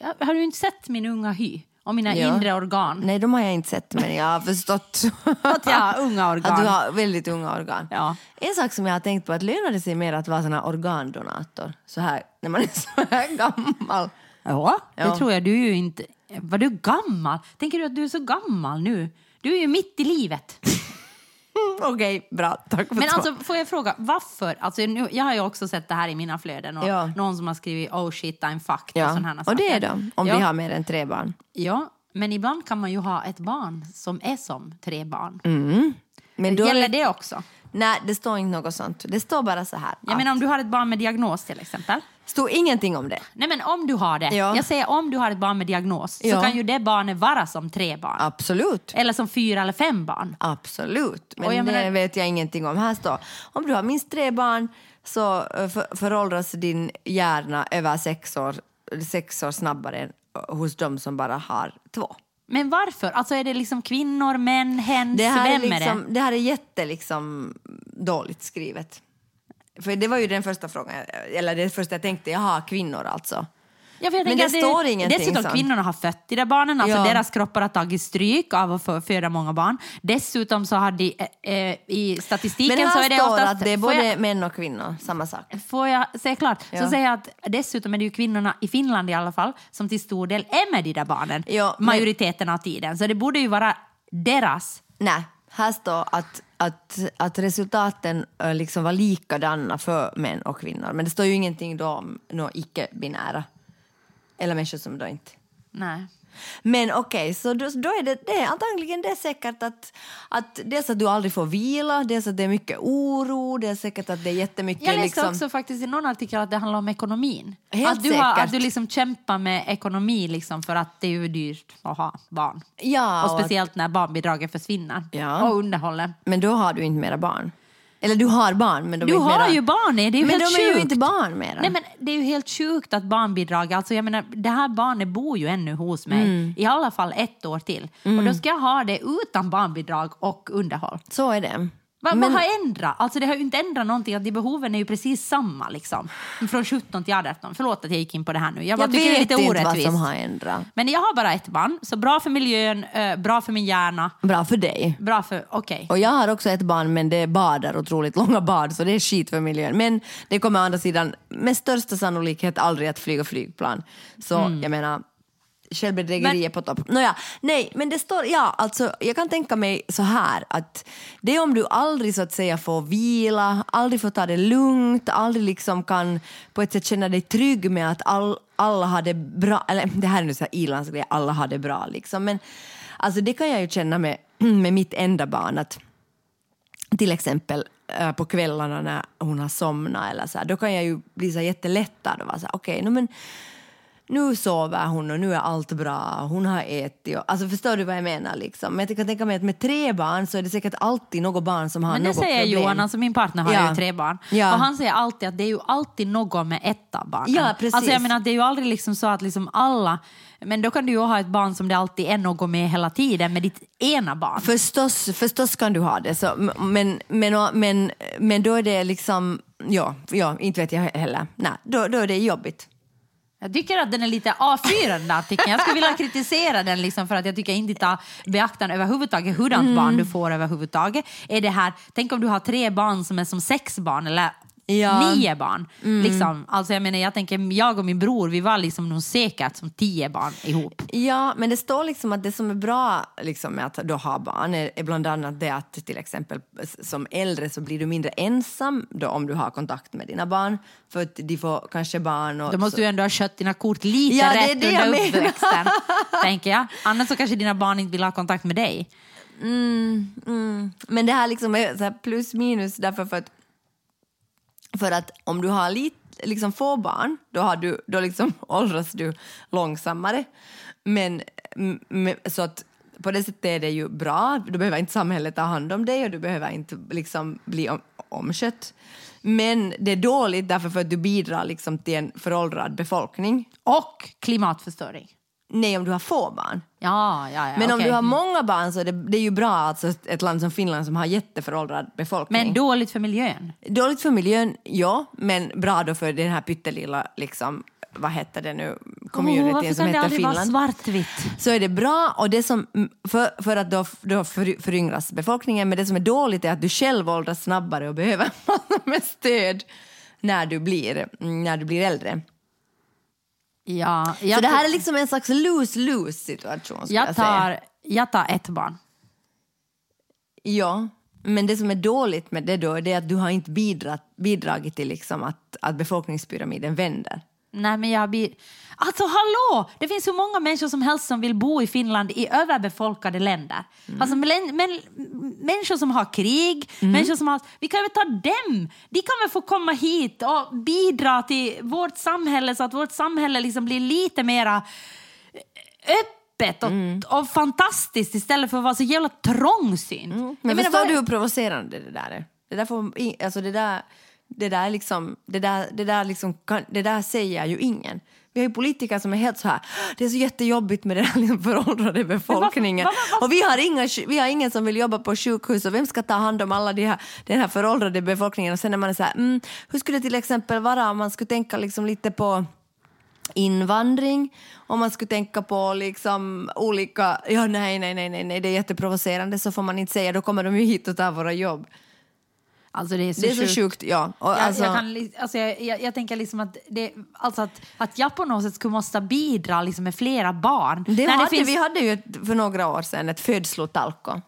Jag, har du inte sett min unga hy och mina
Ja.
inre organ?
Nej, de har jag inte sett men jag har förstått
Att jag har unga organ.
att du har väldigt unga organ.
Ja.
En sak som jag har tänkt på att lönar det sig mer att vara sån här organdonator så här när man är så här gammal?
Ja, det
Ja.
tror jag. Du är ju inte... Var du gammal? Tänker du att du är så gammal nu? Du är ju mitt i (laughs) livet.
Okej, bra. Tack för
Men
svar.
alltså, får jag fråga, varför? Alltså, nu, jag har ju också sett det här i mina flöden. Och
Ja.
Någon som har skrivit oh shit I'm fucked och sådana här
Ja.
saker.
Och det är de, om
ja.
vi har mer än tre barn.
Ja, men ibland kan man ju ha ett barn som är som tre barn.
Mm. Men då,
Gäller det också?
Nej, det står inte något sånt. Det står bara så här.
Jag
att-
menar om du har ett barn med diagnos till exempel.
Det står ingenting om det.
Nej men om du har det.
Ja.
Jag säger om du har ett barn med diagnos så
Ja.
kan ju det barnet vara som tre barn.
Absolut.
Eller som fyra eller fem barn.
Absolut. Men
Och jag menar-
det vet jag ingenting om. Här står, om du har minst tre barn så eh, för, föråldras din hjärna över sex år, sex år snabbare än eh, hos de som bara har två.
Men varför? Alltså är det liksom kvinnor, män, hens,
Det här, är
Mm. vem är,
liksom,
det?
det här är jätte liksom, dåligt skrivet. För det var ju den första frågan, eh, eller det första jag tänkte, jaha, kvinnor alltså.
Ja, för jag
Men
tänker
det
att
står ingenting
Dessutom
sånt.
kvinnorna har fött i de barnen, alltså
Ja.
deras kroppar har tagit stryk av att få- föda många barn. Dessutom så har de eh, eh, i statistiken
Men här
så är det
står
oftast...
att det är
Får
både
jag-
män och kvinnor, samma sak.
Får jag säga klart? Så
Ja.
säger jag att dessutom är det ju kvinnorna i Finland i alla fall som till stor del är med de där barnen
Ja, men-
majoriteten av tiden. Så det borde ju vara deras.
Nej, här står att, att, att resultaten eh, liksom var likadana för män och kvinnor. Men det står ju ingenting då om några icke-binära. Eller människor som då inte...
Nej.
Men okej, så då, då är det, det är antagligen det är säkert att, att dels att du aldrig får vila, dels att det är mycket oro, det är säkert att det är jättemycket...
Jag läste
liksom,
också faktiskt i någon artikel att det handlar om ekonomin.
Helt
att du, har, att
säkert.
du liksom kämpar med ekonomi liksom för att det är ju dyrt att ha barn.
ja,
och speciellt när barnbidraget försvinner
Ja.
och underhållet.
Men då har du inte mera barn. Eller du har barn, men de
Du
är inte
har
mera,
ju barn i, det är ju
Men de
helt
är ju
sjukt.
inte barn mera.
Nej, men det är ju helt sjukt att barnbidrag... Alltså jag menar, det här barnet bor ju ännu hos mig,
Mm.
i alla fall ett år till. Och då ska jag ha det utan barnbidrag och underhåll.
Så är det.
Vad vad har ändrat? Alltså det har ju inte ändrat någonting, att de behoven är ju precis samma. Liksom. Från 17 till 18. Förlåt att jag gick in på det här nu. Jag, bara
Jag
tycker det är
vet
lite
inte vad
orättvist.
som har ändrat.
Men jag har bara ett barn, så bra för miljön, eh, bra för min hjärna,
Bra för dig.
bra för... Okej.
Och jag har också ett barn men det badar otroligt långa bad så det är skit för miljön. Men det kommer å andra sidan med största sannolikhet aldrig att flyga flygplan. Så
Mm.
jag menar, självbedrägeri är på topp. Nåja, nej men det står, ja alltså jag kan tänka mig så här att det är om du aldrig så att säga får vila, aldrig får ta det lugnt, aldrig liksom kan på ett sätt känna dig trygg med att all, alla har det bra, eller (laughs) det här är nu så här ilandsgrej, alla har det bra liksom men alltså det kan jag ju känna med, (clears throat) med mitt enda barn att till exempel eh, på kvällarna när hon har somnat eller så här, då kan jag ju bli så här jättelättad och vara så här, okej, no, men nu sover hon och nu är allt bra, hon har ätit och, alltså förstår du vad jag menar liksom? Men jag kan tänka mig att med tre barn så är det säkert alltid något barn som har
Men det
något
säger
problem.
Johan, alltså min partner har
Ja.
ju tre barn.
Ja.
Och han säger alltid att det är ju alltid något med ett av barnen.
Ja, precis.
Alltså jag menar, det är ju aldrig liksom så att liksom alla... Men då kan du ju ha ett barn som det alltid är något med hela tiden, med ditt ena barn.
Förstås, förstås kan du ha det, så, m- men, men, men, men då är det liksom, ja, ja inte vet jag heller, nej, då, då är det jobbigt.
Jag tycker att den är lite A4 den där artikeln. Jag skulle vilja kritisera den liksom för att jag tycker inte ta beaktan överhuvudtaget hurdant
Mm.
barn du får överhuvudtaget. Är det här, tänk om du har tre barn som är som sex barn eller
Ja. Mm.
nio barn. Liksom. Alltså jag menar, jag tänker, jag och min bror, vi var liksom nog säkert som tio barn ihop.
Ja, men det står liksom att det som är bra liksom, med att då ha barn är, är bland annat det att till exempel s- som äldre så blir du mindre ensam då om du har kontakt med dina barn för att de får kanske barn och...
Då måste
så,
du ändå ha skött dina kort lite
Ja, det är
rätt
det jag
under
menar.
uppväxten. tänker jag. Annars så kanske dina barn inte vill ha kontakt med dig.
men det här liksom är så här plus minus därför för att, för att om du har lite liksom få barn då, har du, då liksom (laughs) åldras du långsammare. Men, m- m- så att på det sättet är det ju bra, du behöver inte samhället ta hand om dig och du behöver inte liksom bli om, omskött. Men det är dåligt därför för att du bidrar liksom till en föråldrad befolkning.
Och klimatförstöring.
Nej, om du har få barn.
Ja, ja, ja,
Men om
okej.
du har många barn så är det, det är ju bra, alltså ett land som Finland som har jätteföråldrad befolkning.
Men dåligt för miljön.
Dåligt för miljön, ja, men bra då för den här pyttelilla, liksom, vad heter det nu,
Åh,
communityn
varför
som
kan det
heter
aldrig
Finland.
vara svartvitt?
Så är det bra, och det som, för, för att då, då för- föryngras befolkningen, men det som är dåligt är att du själv åldras snabbare och behöver (laughs) massor med stöd när du blir, när du blir äldre.
Ja,
Så
jag,
det här är liksom en slags lose-lose situation skulle jag,
jag,
säga.
tar, jag tar ett barn.
Ja, men det som är dåligt med det då det är att du har inte bidrat, bidragit till liksom att, att befolkningspyramiden vänder.
Nej, men jag blir... Alltså hallå! Det finns hur många människor som helst som vill bo i Finland i överbefolkade länder.
Mm.
Alltså men, men, människor som har krig, människor som har... Vi kan väl ta dem! De kan väl få komma hit och bidra till vårt samhälle så att vårt samhälle liksom blir lite mera eh, öppet och,
Mm.
och fantastiskt istället för att vara så jävla trångsynt. Jag
Mm. Men
menar,
förstår
vad-
du hur provocerande det där är? Det där, får, i- alltså det där, det där, liksom, det där, det där, liksom, kan- det där säger ju ingen. Vi har ju politiker som är helt så här, det är så jättejobbigt med den här liksom föråldrade befolkningen.
vad- vad-
Och vi har, inga, vi har ingen som vill jobba på sjukhus och vem ska ta hand om alla de här, den här föråldrade befolkningen? Och sen när man är så här, mm, hur skulle det till exempel vara om man skulle tänka liksom lite på invandring, om man skulle tänka på liksom olika, ja nej, nej, nej, nej, nej, det är jätteprovocerande, så får man inte säga, då kommer de ju hit och tar våra jobb.
Alltså det är så,
Det är så
sjukt.
sjukt, ja. Och
Jag,
alltså,
jag, kan, li- alltså jag, jag, jag tänker liksom att, det, alltså att, att jag på något sätt skulle måste bidra liksom med flera barn.
det
När
hade,
finns-
Vi hade ju ett, för några år sedan ett födslotalko.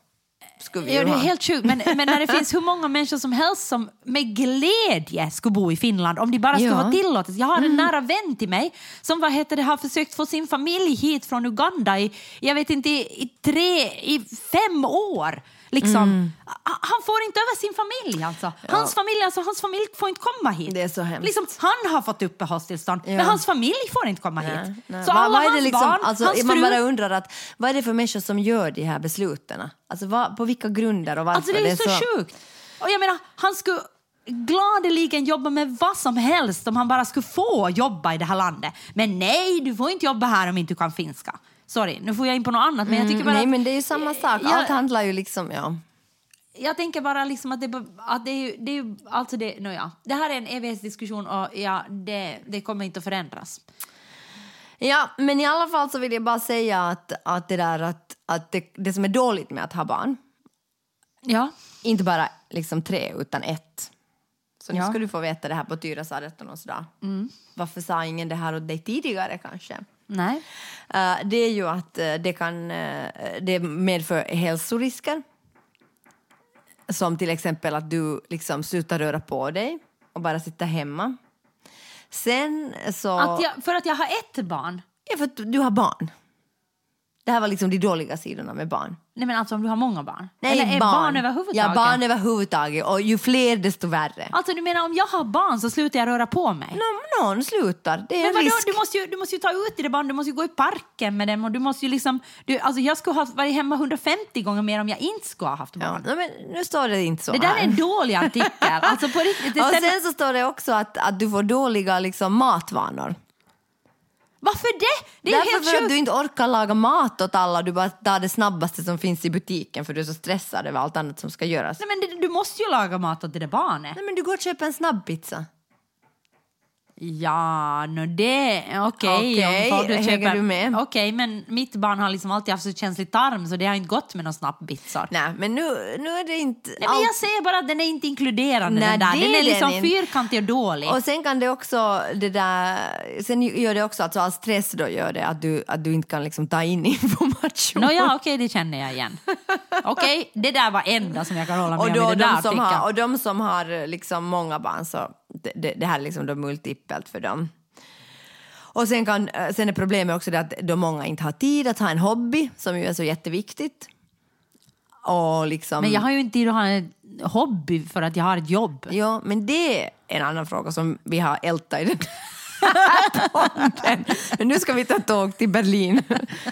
Skulle vi
Ja,
ju
det är
ha.
helt sjukt, men, men när det
(laughs)
finns hur många människor som helst som med glädje skulle bo i Finland om de bara skulle
Ja. Mm.
vara tillåtelse. Jag har en nära vän till mig som vad heter det, har försökt få sin familj hit från Uganda i, jag vet inte, i, i tre, i fem år. Liksom.
Mm.
Ha- Han får inte över sin familj alltså. Hans familj, alltså, hans familj får inte komma hit.
Det är så hemskt.
Liksom, han har fått uppehållstillstånd,
Ja.
men hans familj får inte komma hit.
Nej.
Så
Vad-
alla
vad är det
hans
liksom-
barn,
alltså,
hans
Man
fru,
bara undrar att, vad är det för människor som gör de här besluten? Alltså, vad, på vilka grunder och varför?
Alltså det är, så, sjukt. Och jag menar, han skulle gladeligen jobba med vad som helst om han bara skulle få jobba i det här landet. Men nej, du får inte jobba här om inte du kan finska. Mm, Sorry, nu får jag in på något annat. Men jag tycker bara
Mm, Nej,
att,
men det är ju samma sak.
Ja.
Allt handlar ju liksom, ja.
jag tänker bara liksom att det, bara- att det, är ju- det är ju... Alltså det, nåja. det här är en evighetsdiskussion och ja, det, det kommer inte att förändras.
Ja, men i alla fall så vill jag bara säga att, att det där att, att det, det som är dåligt med att ha barn,
Ja.
inte bara liksom tre utan ett. Så nu
Ja.
ska du få veta det här på Tyras 18 dag.
Mm.
Varför sa ingen det här åt dig tidigare kanske?
Nej.
Eh, det är ju att eh, det kan eh, det medför hälsorisker. Som till exempel att du liksom slutar röra på dig och bara sitter hemma. Sen så...
Att jag, för att jag har ett barn?
Ja, för att du- du har barn. Det här var liksom de dåliga sidorna med barn.
Nej men alltså om du har många barn? Eller är överhuvudtaget?
Ja, barn överhuvudtaget. Och ju fler desto värre.
Alltså du menar om jag har barn så slutar jag röra på mig?
Nå- Någon slutar, det är
Men
en
vadå,
risk.
du, måste ju, du måste ju ta ut dina barn, du måste ju gå i parken med dem och du måste ju liksom... Du, alltså jag skulle ha varit hemma 150 gånger mer om jag inte skulle ha haft
Ja,
barn.
nej, men nu står det inte så
Det där är
här.
en dålig artikel.
(laughs)
Alltså på riktigt. Det
och
stämmer-
sen så står det också att, att du får dåliga liksom, matvanor.
Varför det? Det är ju
Därför
helt
för att
sjukt.
du inte orkar laga mat åt alla, du bara tar det snabbaste som finns i butiken för du är så stressad över allt annat som ska göras.
Nej, men det, du måste ju laga mat åt det där barnet.
Nej men du går och köper en snabbpizza.
Ja, nå det... Okej.
Okej,
om folk-
hänger du med?
Okej, men mitt barn har liksom alltid haft så känslig tarm så det har inte gått med några snabbitsar.
Nej men nu, nu är det inte
Nej, men jag säger bara att den är inte inkluderande.
Nej,
den där.
det
Den
är
är liksom
den inte.
fyrkantig och dålig.
Och sen kan det också det där, sen gör det också alltså all stress då gör det att du, att du inte kan liksom ta in (laughs) information.
Nåja, okej, det känner jag
(laughs)
igen. Okej, det där var enda som jag kan hålla med
och,
om i
då,
den där
de som
artikeln.
har, och de som har liksom många barn så det, det, det här är liksom då multipelt för dem. Och sen, kan, eh, sen är problemet också det att då många inte har tid att ha en hobby som ju är så jätteviktigt. Och liksom,
Men jag har ju inte tid att ha en hobby för att jag har ett jobb.
Ja, men det är en annan fråga som vi har ältat i den här podden. Men nu ska vi ta tåg till Berlin.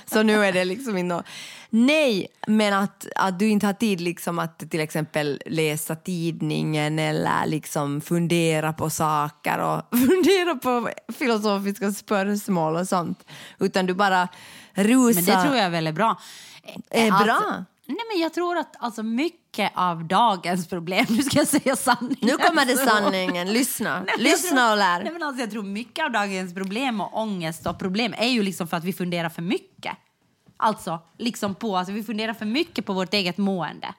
Så nu är det liksom inte nå- Nej, men att, att du inte har tid liksom att till exempel läsa tidningen eller liksom fundera på saker och (laughs) fundera på filosofiska spörsmål och sånt. Utan du bara rusar.
Men det tror jag väl är bra. Alltså,
Är bra?
Nej, men jag tror att alltså, mycket av dagens problem, nu ska jag säga sanningen.
Nu
(laughs)
kommer det
så.
sanningen. Lyssna.
Nej, men jag
Lyssna
tror-
och lär.
Nej, men alltså, jag tror mycket av dagens problem och ångest och problem är ju liksom för att vi funderar för mycket. Alltså, liksom på, alltså vi funderar för mycket på vårt eget mående.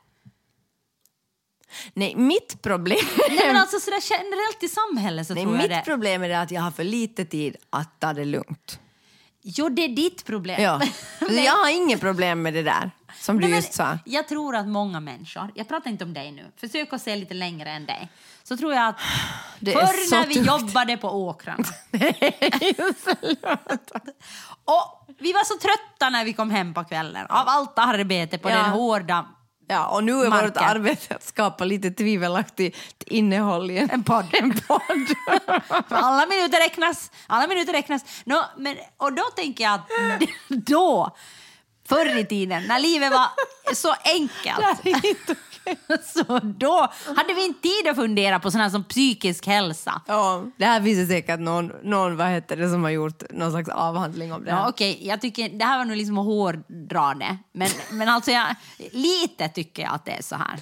Nej, mitt problem...
Nej,
(laughs)
men alltså sådär generellt i samhället så
Nej,
tror jag
mitt
det.
problem är det att jag har för lite tid att ta det lugnt.
Jo, det är ditt problem. (laughs)
Ja.
Men-
Jag har inget problem med det där, som du
Nej, men
just sa. (laughs)
Jag tror att många människor, jag pratar inte om dig nu, försök att se lite längre än dig. Så tror jag att
(sighs) Det är
förr
så
när vi
tungt.
jobbade på åkrarna. och vi var så trötta när vi kom hem på kvällen av allt arbete på
Ja.
den hårda
Ja, och nu är
Marken.
vårt arbete att skapa lite tvivelaktigt innehåll i en, en podd.
För alla minuter räknas. Alla minuter räknas. Nå, men, och då tänker jag att
Mm.
(laughs) då, (laughs) förr i tiden, när livet var så
(laughs)
enkelt. (laughs) Så då hade vi inte tid att fundera på sådana här som psykisk hälsa.
ja, det här finns det säkert någon, någon vad heter det, som har gjort någon slags avhandling om det här.
Ja, Okej, jag tycker det här var nog liksom att hårdra det. Men, men alltså jag, lite tycker jag att det är så här.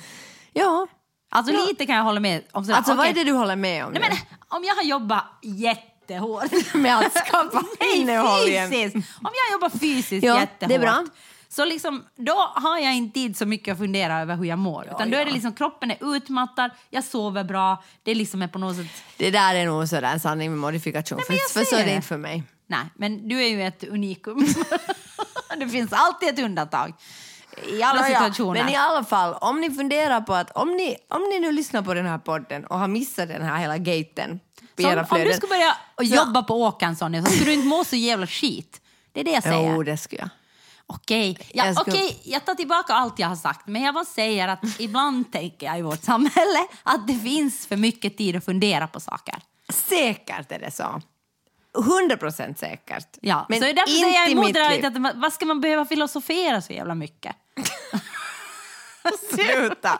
Ja,
Alltså lite kan jag hålla med om. Sådär.
alltså vad
okej.
är det du håller med om
Nej, men, om jag har jobbat jättehårt
nu? (laughs) Med
(laughs)
att skapa innehåll i en-
fysiskt. Om jag jobbar fysiskt
Ja,
jättehårt,
det är bra.
så liksom, då har jag inte tid så mycket att fundera över hur jag mår. utan då är det liksom, kroppen är utmattad, jag sover bra, det liksom är på något sätt...
Det där är nog sådär en sanning med modifikation,
men
för,
jag
för så
säger
är det
det.
inte för mig.
Nej, men du är ju ett unikum. (laughs) det finns alltid ett undantag. I alla
Nåja,
situationer.
Men i alla fall, om ni funderar på att om ni, om ni nu lyssnar på den här podden och har missat den här hela gaten på
så om,
era
om
flöden.
du skulle börja
Så-
jobba på åkan, Sonja, så skulle du inte må så jävla skit. Det är det jag säger.
Jo, det skulle jag.
Okej, ja,
Jag
jag,
ska-
jag tar tillbaka allt jag har sagt, men jag bara säger att ibland tänker jag i vårt samhälle att det finns för mycket tid att fundera på saker.
Säkert är det så. 100 procent säkert.
Ja,
men
så det är därför säger jag
i
emot det
mitt
där
liv.
att man- vad ska man behöva filosofera så jävla mycket?
Sluta,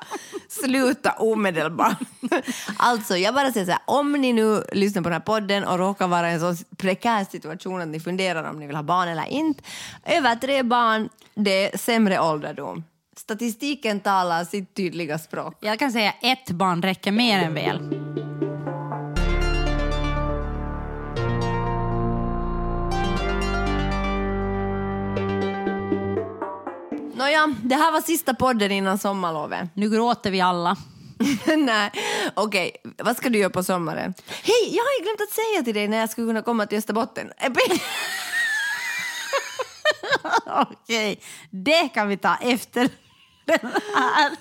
sluta omedelbart. alltså, jag bara säger så här, om ni nu lyssnar på den här podden och råkar vara i en sån prekär situation att ni funderar om ni vill ha barn eller inte. Över tre barn, det är sämre ålderdom. Statistiken talar sitt tydliga språk.
Jag kan säga ett barn räcker mer än väl.
Nåja, det här var sista podden innan sommarlovet. (laughs)
Nu gråter vi alla.
Nej, okej. Vad ska du göra på sommaren? Hej, jag har ju glömt att säga till dig när jag skulle kunna komma till Österbotten.
(laughs) Okej, det kan vi ta efter den här.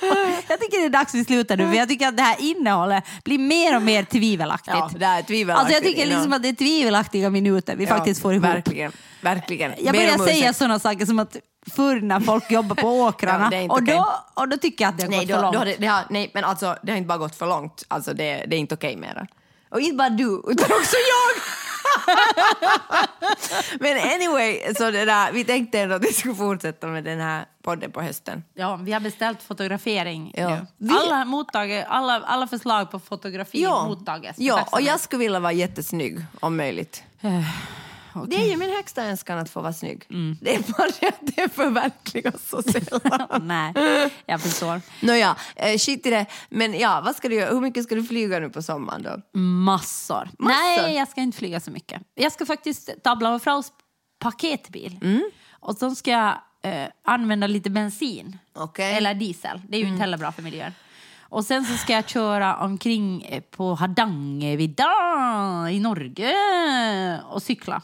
(laughs)
Jag tycker det är dags vi slutar nu, för jag tycker att det här innehållet blir mer och mer tvivelaktigt.
Ja, det här är tvivelaktigt.
Alltså jag tycker liksom att det är tvivelaktiga minuter vi faktiskt får ihop.
Verkligen, verkligen.
Jag
Ber
börjar
om
säga
ursäkt.
sådana saker som att förr när folk
(laughs)
jobbade på åkrarna,
Ja, det är inte
och, då,
okej.
och då tycker jag att det har
Nej,
gått
då,
för långt.
Då har det, det har, nej, men alltså det har inte bara gått för långt. Alltså det, det är inte okej mera. Och inte bara du, utan också jag! (laughs) men anyway, så det där, vi tänkte ändå att vi skulle fortsätta med den här podden på hösten.
Ja, vi har beställt fotografering
Ja.
nu.
Vi-
Alla, mottag- alla, alla förslag på fotografi mottages. med
ja och
tacksamhet.
jag skulle vilja vara jättesnygg om möjligt.
Eh,
Det är ju min högsta önskan att få vara snygg.
Mm.
Det är bara det att det förverkligas
(laughs)
så sällan. (laughs)
Nej, jag förstår.
Nåja, eh, skit i det. Men ja, vad ska du göra? Hur mycket ska du flyga nu på sommaren då?
Massor. Nej, jag ska inte flyga så mycket. Jag ska faktiskt ta Blaue Fraus paketbil.
Mm.
Och så ska jag eh, använda lite bensin.
Okej. Mm.
Eller diesel. Det är ju inte heller bra för miljön. Och sen så ska jag köra omkring eh, på Hardangervidda i Norge och cykla.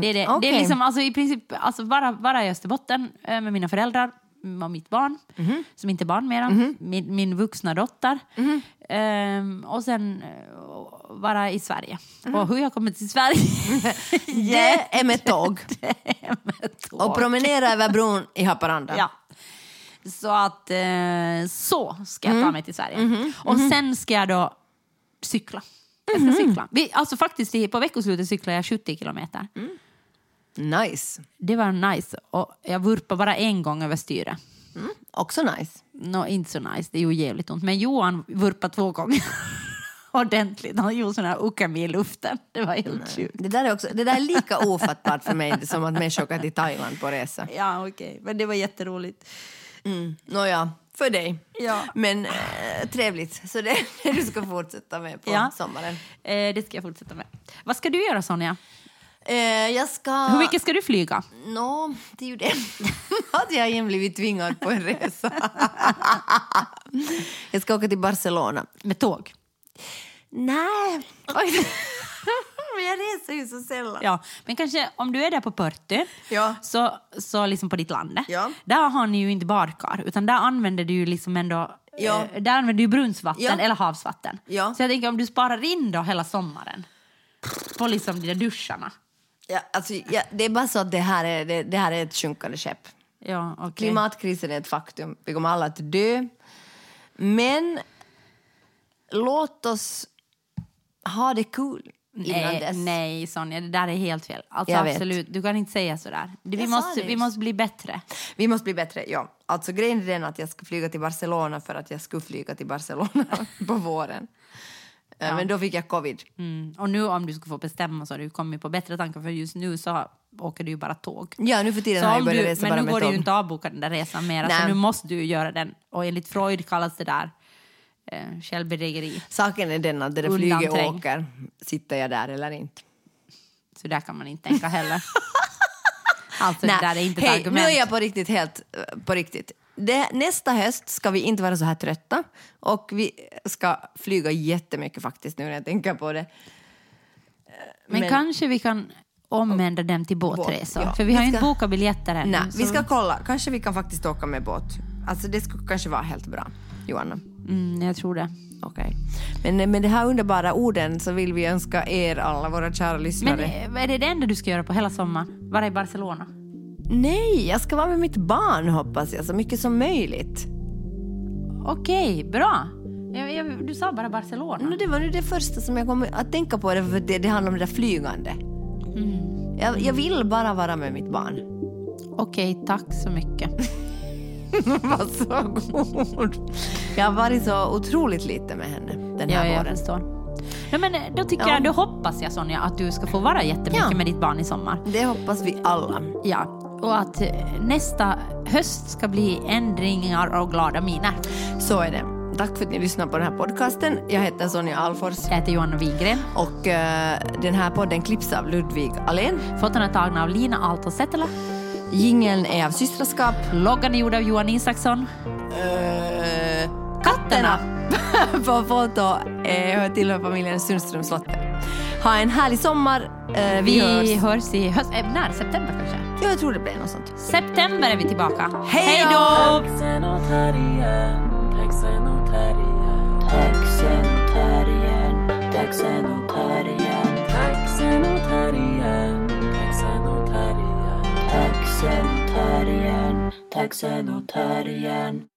Det är, det.
Mhm. okej.
det är liksom, alltså, i princip alltså, bara, bara i Österbotten eh, med mina föräldrar mm, och mitt barn, som inte är barn mera, min, min vuxna dotter. Ehm, och sen eh, vara i Sverige. Och hur jag kommer till Sverige?
Det är med tåg.
det (laughs) är med tåg.
Och promenera över bron i Haparanda.
Ja. Så att eh, så ska jag ta mig till Sverige. Och sen ska jag då cykla. Jag ska cykla. Vi, alltså faktiskt i- på veckoslutet cyklar jag 70 kilometer.
Nice.
Det var nice. Och jag vurpade bara en gång över styret.
Mm, Också nice.
Nå, inte så nice, det gjorde jävligt ont. Men Johan vurpade två gånger (laughs) ordentligt. Han gjorde sån här ukami i luften. Det var helt sjukt.
Det där är, också, det där är lika ofattbart för mig som att människor åker till Thailand på resa. Mm.
Ja, okej. Men det var jätteroligt.
Nåja, för dig.
Ja.
Men eh, trevligt. Så det är det du ska fortsätta med på
Ja.
sommaren.
Eh, det ska jag fortsätta med. Vad ska du göra, Sonja?
Eh, jag ska...
Hur mycket ska du flyga?
Nå, det är ju det. (laughs) att jag igen blivit tvingad på
(laughs)
en resa. jag ska åka till Barcelona.
Med tåg?
Nej.
(laughs)
(laughs) Men jag reser ju så sällan.
Ja, men kanske om du är där på Porto,
Ja.
så, så liksom på ditt land,
Ja.
där har ni ju inte badkar, utan där använder du ju liksom ändå
Ja.
eh, där använder du brunnsvatten
Ja.
eller havsvatten.
Ja.
Så jag tänker om du sparar in då hela sommaren på liksom de där duscharna.
Ja, alltså, ja, det är bara så att det här är, det, det här är ett sjunkande skepp.
Ja, okej.
Klimatkrisen är ett faktum. Vi kommer alla att dö. Men låt oss ha det kul innan
Nej,
dess.
nej, Sonja, det där är helt fel. Alltså,
Jag vet.
absolut, du kan inte säga sådär. Det- Vi
Jag sa
måste,
det
vi
just.
måste bli bättre.
Vi måste bli bättre. Ja. Alltså, grejen är den att jag ska flyga till Barcelona för att jag skulle flyga till Barcelona (laughs) på våren. Eh, Men då fick jag covid.
Mm. Och nu om du skulle få bestämma så har du kommit på bättre tankar för just nu så åker du ju bara tåg.
Ja, nu för tiden
Så
har
om
jag börjat
du,
resa
men
bara
nu
med
går det
tåg.
ju inte att avboka den där resan mer, så
Nej.
nu måste du ju göra den. Och enligt Freud kallas det där eh, självbedrägeri.
Saken är den att när det flyget
Undanträng.
åker, sitter jag där eller inte?
Så där kan man inte tänka heller. (laughs)
(laughs)
alltså det där är inte ett
hej,
argument.
nu är jag på riktigt helt eh, på riktigt. Det, nästa höst ska vi inte vara så här trötta och vi ska flyga jättemycket faktiskt nu när jag tänker på det.
men,
men-
kanske vi kan omvända dem till båtresor.
ja.
För vi har ju
Vi
inte
ska-
bokat biljetter ännu.
Nej,
så-
vi ska kolla. Kanske vi kan faktiskt åka med båt. Alltså det skulle kanske vara helt bra, Johanna.
mm, jag tror det.
Okej. Men eh, med de här underbara orden så vill vi önska er alla, våra kära lyssnare.
Men eh, är det det enda du ska göra på hela sommaren? Vara i Barcelona?
Nej, jag ska vara med mitt barn hoppas jag, så mycket som möjligt.
Okej, bra. Jag, jag, du sa bara Barcelona.
No, det var nu det första som jag kom att tänka på, det, för det, det handlar om det där flygande.
Mm.
Jag, jag vill bara vara med mitt barn. (laughs)
Okej, tack så mycket.
Vad så god! Jag har varit så otroligt lite med henne den
Ja,
här
jag
våren.
förstår. Nej, men eh, då, tycker
Ja.
jag, då hoppas jag Sonja att du ska få vara jättemycket
Ja.
med ditt barn i sommar.
Det hoppas vi alla.
Ja. och att eh, nästa höst ska bli ändringar och glada miner.
Så är det. Tack för att ni lyssnar på den här podcasten. Jag heter Sonja Alfors
Jag heter Johanna Wingren.
och eh, den här podden klipps av Ludvig Alén.
Fotona är tagna av Lina Aalto Settälä.
Jingeln är av Systraskap.
Loggan är gjord av Johan Isaksson.
Eh, (laughs) katterna på foto eh, hör tillhör familjen Sundströms lotter. Ha en härlig sommar. Eh, vi,
Vi
hörs.
hörs i höst, eh, när? September kanske?
Ja, jag tror det blir något sånt.
September är vi tillbaka.
Hej då!
Taxenotarian, taxenotarian,
Taxenotarian, taxenotarian,
taxenotarian, taxenotarian.
taxenotarian, taxenotarian.